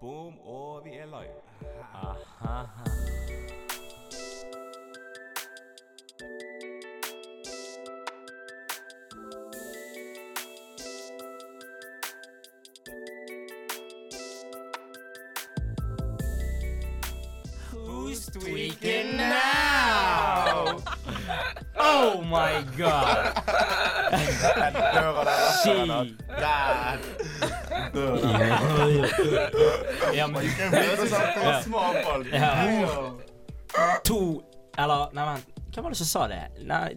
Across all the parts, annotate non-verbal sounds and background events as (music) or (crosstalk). Boom, og vi er live. Who's tweaking (laughs) now? Oh my god! Den døra der. altså, den har- Shit. Der. Døra der. Ja, men Jeg ble så sant, det var småball. Ja. Damn. to Eller, nei, vent. Hvem var det som sa det? Nei,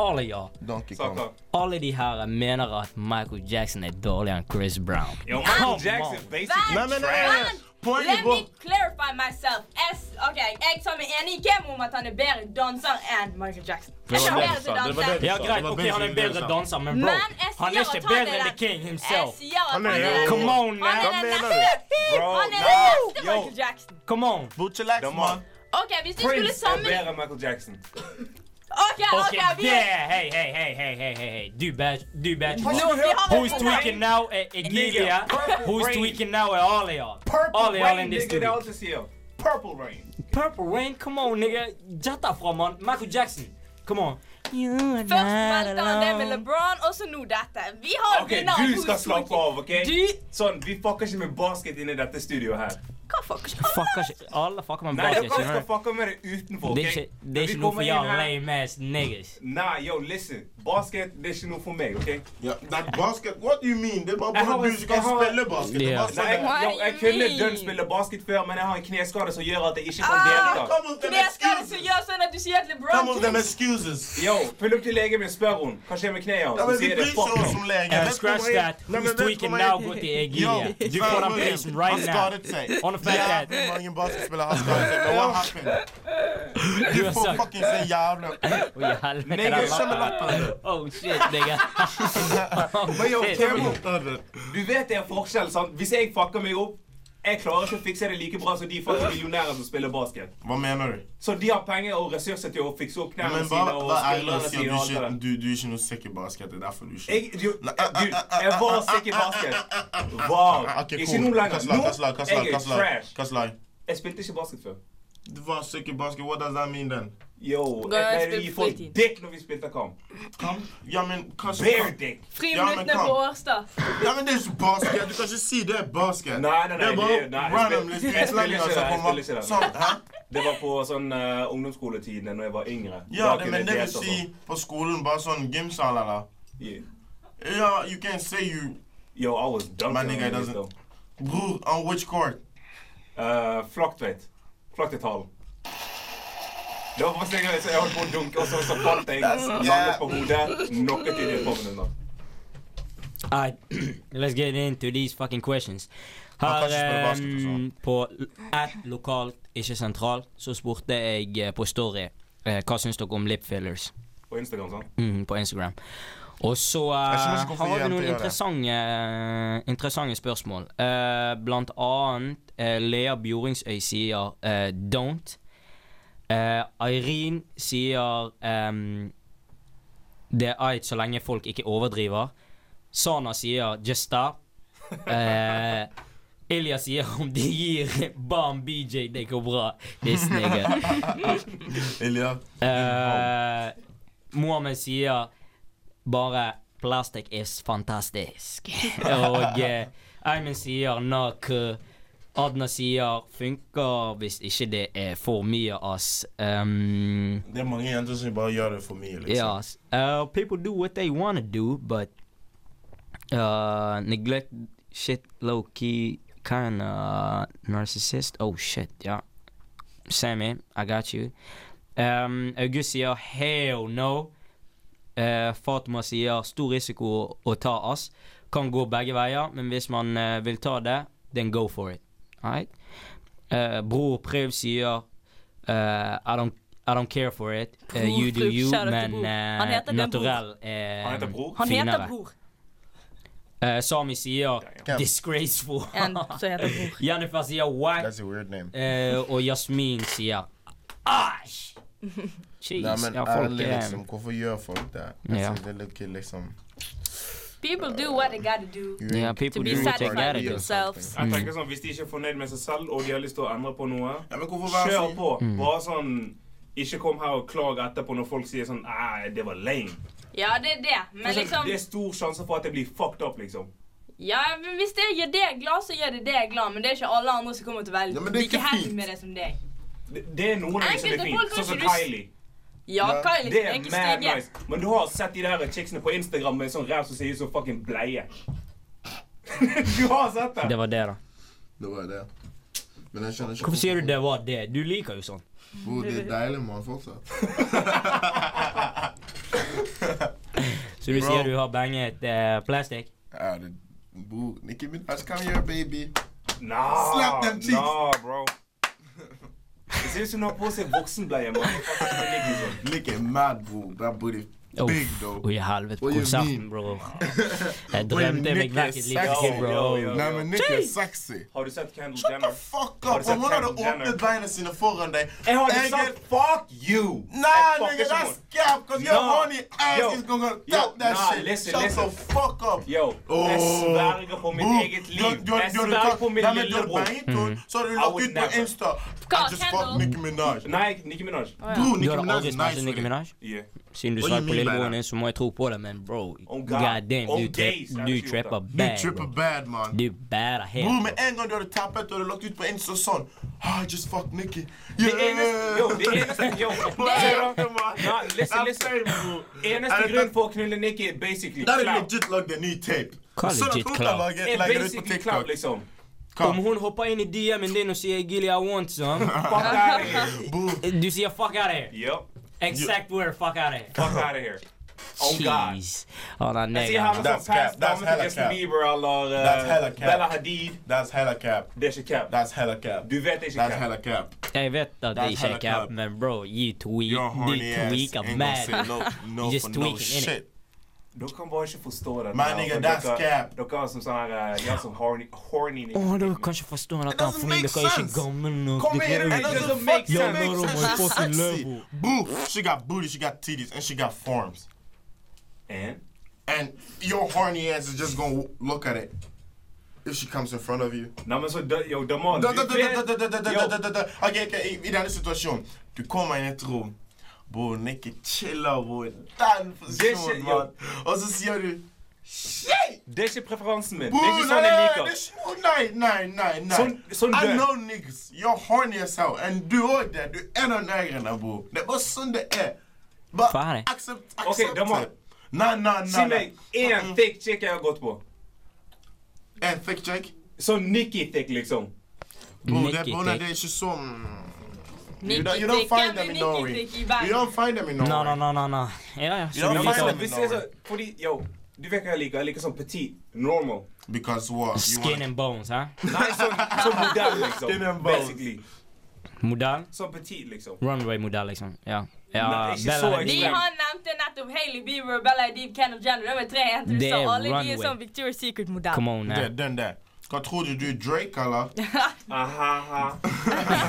Ali, ja. Donkey Sa Kong. han. Alle de her mener at Michael Jackson er dårligere enn Chris Brown. Yo, Michael Come Jackson on. basically Nei, men, trash. eh, Poenget Let var me clarify myself. S, ok, Jeg som er enig i Kemo om at han er bedre danser enn Michael Jackson. Det var Jeg det er du bedre sa, det var danser. det du Ja, sa. Det greit, var ok, basically han er en det du bedre sa. danser, men bro, Men jeg sier han er ikke at han bedre er enn The den- King Jeg himself. sier at han Han er er jo- Come on, Han er man. Hva den mener neste Bro, Han er no. den neste Yo. Michael Jackson. Come on. Butcheleks, Da må- mann. Ok, Hvis du skulle Prince er sammen... bedre enn Michael Jackson. Ok, ok, Ok, vi det er... Hei, hei, hei, hei, hei, hei, hei. Du bæsj, du bæsj. Nå, vi har en Who's tweaking now er Egilia. Who's tweaking now er Alia. Purple Alia in Rain, this nigga, det er studio. alt jeg sier. Purple Rain. Purple Rain, come on, nigga. Jet derfra, mann. Michael Jackson, come on. Først meldte han det med LeBron, og så nå dette. Vi har Ok, vinneren. du skal slappe av, ok? Du- Sånn, vi fucker ikke med basket inne i dette studioet her. Hva fuck? Fucker ikke Alle fucker med Nei, basket, dere skal skjønner du. fucke med det utenfor, ok? Det er ikke, det Når vi er ikke noe kommer for inn y'all her- lame ass niggas. Nei, yo, listen. Basket, det er ikke noe for meg, ok? Ja, det er basket. What do you mean? Det er bare Jeg har- bare du som kan jeg har- spille basket. Det er Ja. bare Nei, sånn jeg, der. What yo, do jeg you kunne mean? dønn spille basket før, men jeg har en kneskade som gjør at jeg ikke kan Ah, delta. Come with them Det skal du excuses. ikke gjøre sånn at du sier at LeBron Come with them excuses. Yo, følg opp til legen min, spør hun. Hva skjer med kneet hans? Ja, men Hun vi sier det bryr er oss fuck ikke no. om legen. And Vet du scratch hva jeg- that. Nei, men Who's vet du tweaking hva jeg- now går til Egilia. Yo, Du Ferrari får den Williams, plassen right Han now. skadet seg. On the fact that- Jævlig mange basketspillere har skadet seg. (laughs) But what happened? Du Du har får sagt fuckings en (laughs) jævla Å, i helvete, Nigga, den skjønner lappen. Oh shit, nigga. (laughs) Men yo, Shit. Kemo, du vet det er forskjell, sant? Hvis jeg fucker meg opp, jeg klarer ikke å fikse det like bra som de fucking millionærer som spiller basket. Hva mener du? Så de har penger og ressurser til å fikse opp knærne Men sine bare og vær ærlig skuldrene og si sine og alt det at der. du, du, du er ikke noe sikker i basket. Det er derfor du ikke Jeg, du, eh, eh, du, jeg var sikker i basket. Wow. Ah, ok, Ikke cool. nå Hva lenger. slag, hva slag, hva Nå slag, jeg hva er slag, trash. hva slag? Jeg spilte ikke basket før. Du var sikker i basket. What does that mean then? Yo, jeg Da pleide jeg å gi spilte folk fritid. dick når vi spilte kamp. Ja, men hva som- Bear dick. Friminuttene på Årstad. Ja, men det er ikke basket. Du kan ikke si det er basket. Nei, nei, nei, Det er bare det er- nei, jeg random spiller- liste (laughs) jeg spiller ikke utlendinger det, som jeg kommer. spiller ikke det. Sånn, hæ? Det var på sånn eh, ungdomsskoletiden når jeg var yngre. Ja, Da det, kunne men jeg det vil delta si på skolen bare sånn gymsal, eller? sånn. Yeah. Ja, you can say you Yo, I was dunking My on nigga niggas doesn't- though. Bror, on which court? Uh, Flaktveit. Flaktveithallen. Det var første gang jeg- så jeg holdt på å dunke, og så, så falt jeg. Landet på hodet. Knocket inn i et par minutter. Alright, let's get into these fucking questions. Man kan ikke spille Her basket og um, sånn. på at lokalt, ikke sentralt, så spurte jeg eh, på story eh, hva syns dere om lip fillers På Instagram, sånn. sant? mm, på Instagram. Og så eh, Jeg skjønner ikke hvorfor her har vi jenter noen gjør det. interessante, eh, interessante spørsmål. Eh, blant annet eh, Lea Bjoringsøy sier eh, 'don't'. Eh, Eirin sier ehm, 'det er eit så lenge folk ikke overdriver'. Sana sier 'just stop'. Eh, Ilja sier 'om de gir Bam BJ, det går bra'. This nigga. Elia. Eh, Mohammed sier bare 'plastic is fantastisk'. (laughs) Og eh, Eimin sier 'nak'. Adna sier 'funker hvis ikke det er for mye, ass'. Um, Det er mange jenter som bare gjør det for mye, liksom. yeah, ass. Uh, people do what they wanna do, but uh, neglect shit low key, kinda narcissist. Oh shit, yeah. Sammy, I got you. Um, August sier hell no. Uh, Fatma sier stor risiko å- å ta ass. Kan gå begge veier, men hvis man eh, vil ta det, then go for it. Alright? Eh, bror Prøv sier eh, I, don't, I don't care for it. Eh, Bror you do Prøv, you, shout out til men Bror. eh, Han heter den Bror. naturell er Han heter Bror? Han heter finere. Bror. Eh, Sami sier Damn. disgraceful. En som heter Bror. (laughs) Jennifer sier whack. That's a weird name. Eh, og Jasmin sier (laughs) æsj. Jeez, Nei, men ja, folk ærlig, er liksom, hvorfor gjør folk det? Jeg Ja. synes det er litt kult, liksom (laughs) People do what they gotta do. You Yeah, ain't- people be do what they satisfied gotta with do. yourselves. Jeg tenker sånn, Hvis de ikke er fornøyd med seg selv, og de har lyst til å endre på noe, Ja, men hvorfor være kjør sånn? på. Bare sånn Ikke kom her og klag etterpå når folk sier sånn Æh, det var lame. Ja, det er det. Men Altså, liksom Det er stor sjanse for at det blir fucked up, liksom. Ja, men Hvis det gjør deg glad, så gjør det deg glad. Men det er ikke alle andre som kommer til å være Ja, men det er like ikke happy fint. med det som deg. Det, det er noen av dem som er Enkelte folk fint. kan Sånn som ikke du s- Kylie. Ja, Ja, Kylie Det er er ikke mad steget. nice. Men du har sett de der chicksene på Instagram med sånn ræv som ser ut som fucking bleie. (laughs) du har sett Det det. var det, da. Det var jo det. Men jeg skjønner ikke Hvorfor sier du det var det? Du liker jo sånn. Bro, det er deilig, mann. Fortsett. Så du Bro. sier du har banget eh, plastikk? (laughs) Ja, det Bro, Nicki Minaj, come here, baby. Nah, Slap them cheeks. Nah, bro. Det ser ut som hun har på seg voksenbleie. man. Det ligger sånn. Nick is mad, bro. That booty Uff, big, though. Oi, helvete. What you Konserten, mean? (laughs) bro. Jeg drømte meg vekk et lite sexy, sted, bro. bro. Nei, men Nick er sexy. Har du sett Kendall Shut the Jenner? fuck Har up! du sett Om hun hadde Kendall Jenner? åpnet beina sine foran deg Jeg har ikke jeg er- sagt fuck you! Jeg Nah, fucker nigga, ikke that's mot- scam, cause your No. horny ass Yo. is gonna Yo, tap that nah, shit. listen, Shut listen. the fuck up. Yo, jeg Åh, sverger på mitt bro, eget du- liv. du- du- Jeg du- du- sverger på min Nei, men du- lillebror. nei, Mm. du- Så har du I lagt would ut på never. Insta. I Hva, just Kendall? fucked Nicki Minaj. Nei, Nicki Minaj. Bro, Du Nicki har Minaj aldri is smakt nice. en Nicki with it. Minaj? Yeah. Siden du What do you svarte på mean by lillebroren that? din, Oh, så må jeg tro på det, men bro On God. God damn, On du, days, trap, actually, du trapper what You bad, tripper bro. bad, man. Du bærer helt, Bro, bro. med en gang du hadde tappet og du lagt ut på Insta sånn ah, I just fucked Nicki. Det eneste Yo, (laughs) det eneste Yo, ser du? Nah, Nou, listen, listen. Eneste grunn for å knulle Nicki er basically Da hadde jeg clout. legit lagd en ny tape. Hva Sånn at legit hun clout? kan lage Er legge det ut på basically clout, TikTok. liksom. Om hun hopper inn i DM-en din og sier 'Gilly, I want (laughs) some', Fuck out of here. Bro, du sier 'fuck out of here'. Yup. Exact word, fuck out of here. Fuck out of here. On God. Jeez. Oh, nei, Jeg nei, sier han nei. som pass That's cap, that's damen til hella Justin cap. Bieber eller eh, That's hella cap. Bella Hadid. that's hella cap. Det er ikke cap. That's hella cap. Du vet det er That's ikke cap. hella cap. Jeg vet at det That's ikke er hella cap, cap. men bro, you tweak, du Your horny ass ain't tweaker gonna say mad. (laughs) no, no You just for no tweaking, innit? shit. Dere kan bare ikke forstå det. My der, nigga, for that's dere- cap. Dere er som sånn her eh, Jeg er som horny, horny Å, nigga. dere kan ikke forstå at It han doesn't fordi make dere er ikke sense. gammel nok. Come Dere here, er it jo- doesn't doesn't make make sense. sense. Make sense. You're not on my She's fucking sexy. level. Boo, she got booty, she got titties, and she got forms. And? And your horny ass is just gonna look at it if she comes in front of you. Nei, men så da- Yo, Damal, Da, du da, da, da, da, da, da, da, da, vet- da, da, da. Ok, ok, i, i denne situasjonen. Du kommer inn i et rom. Bro, Nikki chiller, bro. Den Det skjer, posisjonen, jo. mann. Og så sier du Shit! Yo, Det er ikke preferansen min. Bro, Det er ikke sånn nei, jeg nei, liker. det er ikke- Nei, nei, nei, nei. Sånn- sånn I dør. know niggas. You're horny as hell. And du òg det. Du er noen eierne, bro. Det er bare sånn det er. Bare Ferdig. accept, accept Ok, da må- det. Nei, nei, nei. Si meg én thick chick jeg har gått på. En thick check. Sånn Nikki thick, liksom. Bro, det Nikki er bare thick. det er ikke sånn You Nikki don't, you don't Dick, find ja, them in men Norway. Nikki Dick i You verden. don't find them in Norway. No, no, no, no, no. Ja, ja. Ja, Så du men- liker Liksom, them hvis in jeg Norway. så- Fordi, yo, du vet hva jeg liker. Jeg liker sånn petit, normal. Because what? You skin wanna- and bones, hæ? Nei, sånn sånn modell, liksom. Skin and bones. Basically. Modell? Sånn petit, liksom. Runway-modell, liksom. Ja. Nei, ja ikke så Bella, De ekstremt. han nevnte nettopp Hailey Bieber, Bella Hadid, Kendall Jenner. Det var tre jenter du Det sa. er Alle de runway. er sånn Victoria's Secret-modell. come on, Det, eh. den der. Hva tror du, du er Drake, eller? Aha, (laughs) aha.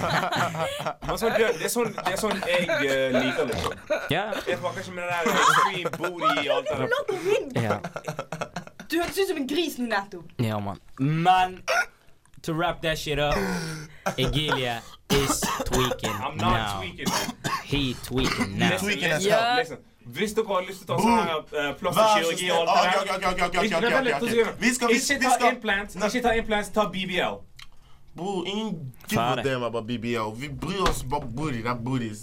Men sånn død, det er sånn, det er sånn jeg eh, liker, liksom. Ja. Jeg fucker ikke med det der extreme booty og alt det der. ja. Du hørtes ut som en gris nå nettopp. Ja, man. Men to wrap that shit up, Egilia is tweaking I'm not now. tweaking. man. He tweaking now. Listen, Tweaking as listen, hell. listen. Hvis dere har lyst til å ta Boom. sånn her eh, plastisk kirurgi og alt Ok, Ah, ok, det der ok, ok, ok, ok, Ikke ok, vent ok, litt, to ok. sekunder. Vi skal, vi skal, vi Ikke ta skal. implants, ikke ta implants, ta BBL. Bro, ingen give a Ferdig. damn about BBL. Vi bryr oss bare booty. That booty is...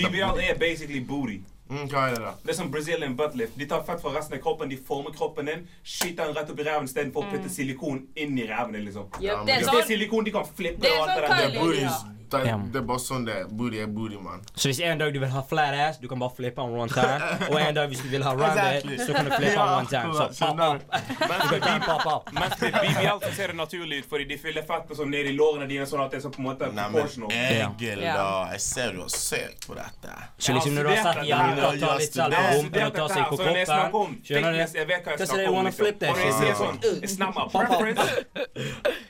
BBL er basically booty. Mm, hva er det da? Det er som Brazilian butt lift. De tar fett fra resten av kroppen, de former kroppen din, skyter den rett opp i ræven istedenfor å putte silikon inn i ræven din, liksom. Mm. Ja, men det er Hvis det er sånn. silikon, de kan flippe Det er og alt det sånn der. Det Kylie. er booty is... Det, Ja. det er bare sånn det er. Booty er booty, man. Så hvis en dag du vil ha flat ass, du kan bare flippe han one (laughs) time. Og en dag hvis du vil ha rounded, så kan du flippe han one (laughs) time. Så pop up. Du kan beep pop up. Mens med BBL så ser det naturlig ut, fordi de fyller fett og sånn ned i lårene dine, sånn at det er sånn på en måte Nei, men proportional. Egil, Ja. da. Jeg ser du har søkt på dette. Så liksom når du har sett hjernen og ta litt Jeg selvrom, studerte og ta dette seg her, på så når jeg snakker om kroppen. Skjønner fitness, du? jeg vet hva jeg That's snakker why I om, wanna liksom. flip that Og når jeg shit. sier sånn, it's not my preference.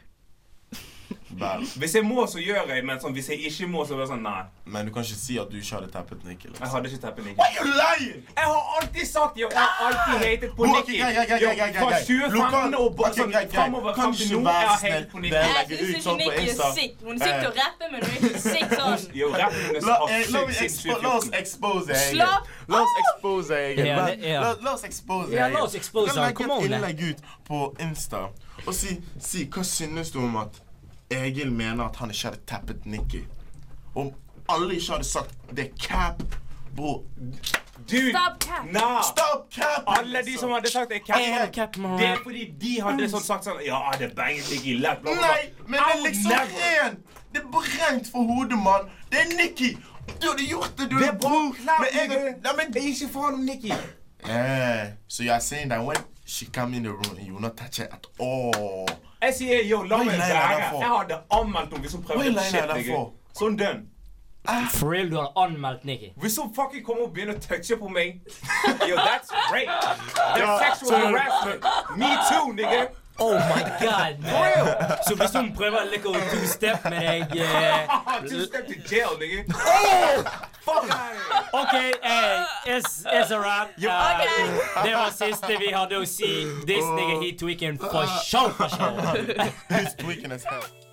bad. Hvis jeg må, så gjør jeg, men sånn, hvis jeg ikke må, så er det sånn Nei. Men du kan ikke si at du ikke hadde teppet Nikki. Jeg hadde ikke teppet Nikki. Why you lying? Jeg har alltid sagt jo, jeg har alltid hatet på Ok, Nikki. grei, grei, grei, Jo, grei, grei, Fra grei. 2015 og Lokal- bare ok, sånn grei, grei. framover Kan fram du til ikke nå, jeg har være hatet på snill? Nikki. Det- Jeg legger syns ut ikke sånn på Nikki er Insta. Eh. sick. Hun sitter og rapper, men hun er ikke sick (laughs) sånn. Jo, rappen hennes La, har eh, la, sykt, meg sykt, expo, sykt la oss fjorten. expose Slapp Egil. La oss expose Egil. Ja, Men det- ja. La, la oss expose Ja, Egil. la oss expose Du kan han, legge come on, et da. innlegg ut på Insta og si, si hva synes du om at Egil mener at han ikke hadde tappet Nikki. Om alle ikke hadde sagt det er cap, bro. Dude, Stop cap. nah. Stop Eh, cap! Alle de som hadde sagt det er cap, Jeg hadde cap, man. det er fordi de hadde sånn sagt sånn Ja, det banget Nikki lett, bla, bla, bla. Nei, men det er I would liksom never. én. Det er brent for hodet, mann. Det er Nikki. Du hadde gjort det, du Det hadde er bare klart, Men jeg nigga. Nei, men Det er ikke faen om Nikki. Eh, so you are saying that when she come in the room and you will not touch her at (laughs) all. Jeg sier yo, la Hva meg er det være. derfor? Jeg hadde anmeldt henne hvis hun Hva er prøvde det å shit nigga. derfor? Sånn done. For real, du har anmeldt Nikki. Hvis hun fucking kommer og begynner å touche på meg Yo, that's rape. That's sexual sorry. harassment. Me too, nigga. Oh my god, man. Så hvis hun prøver å like å two-step med deg eh, Two step to jail, nigga. Fuck out of here. OK, eh, it's, it's a wrap. Eh, det var siste vi hadde å si. This nigga, he tweaking for show, for show. He's tweaking as hell.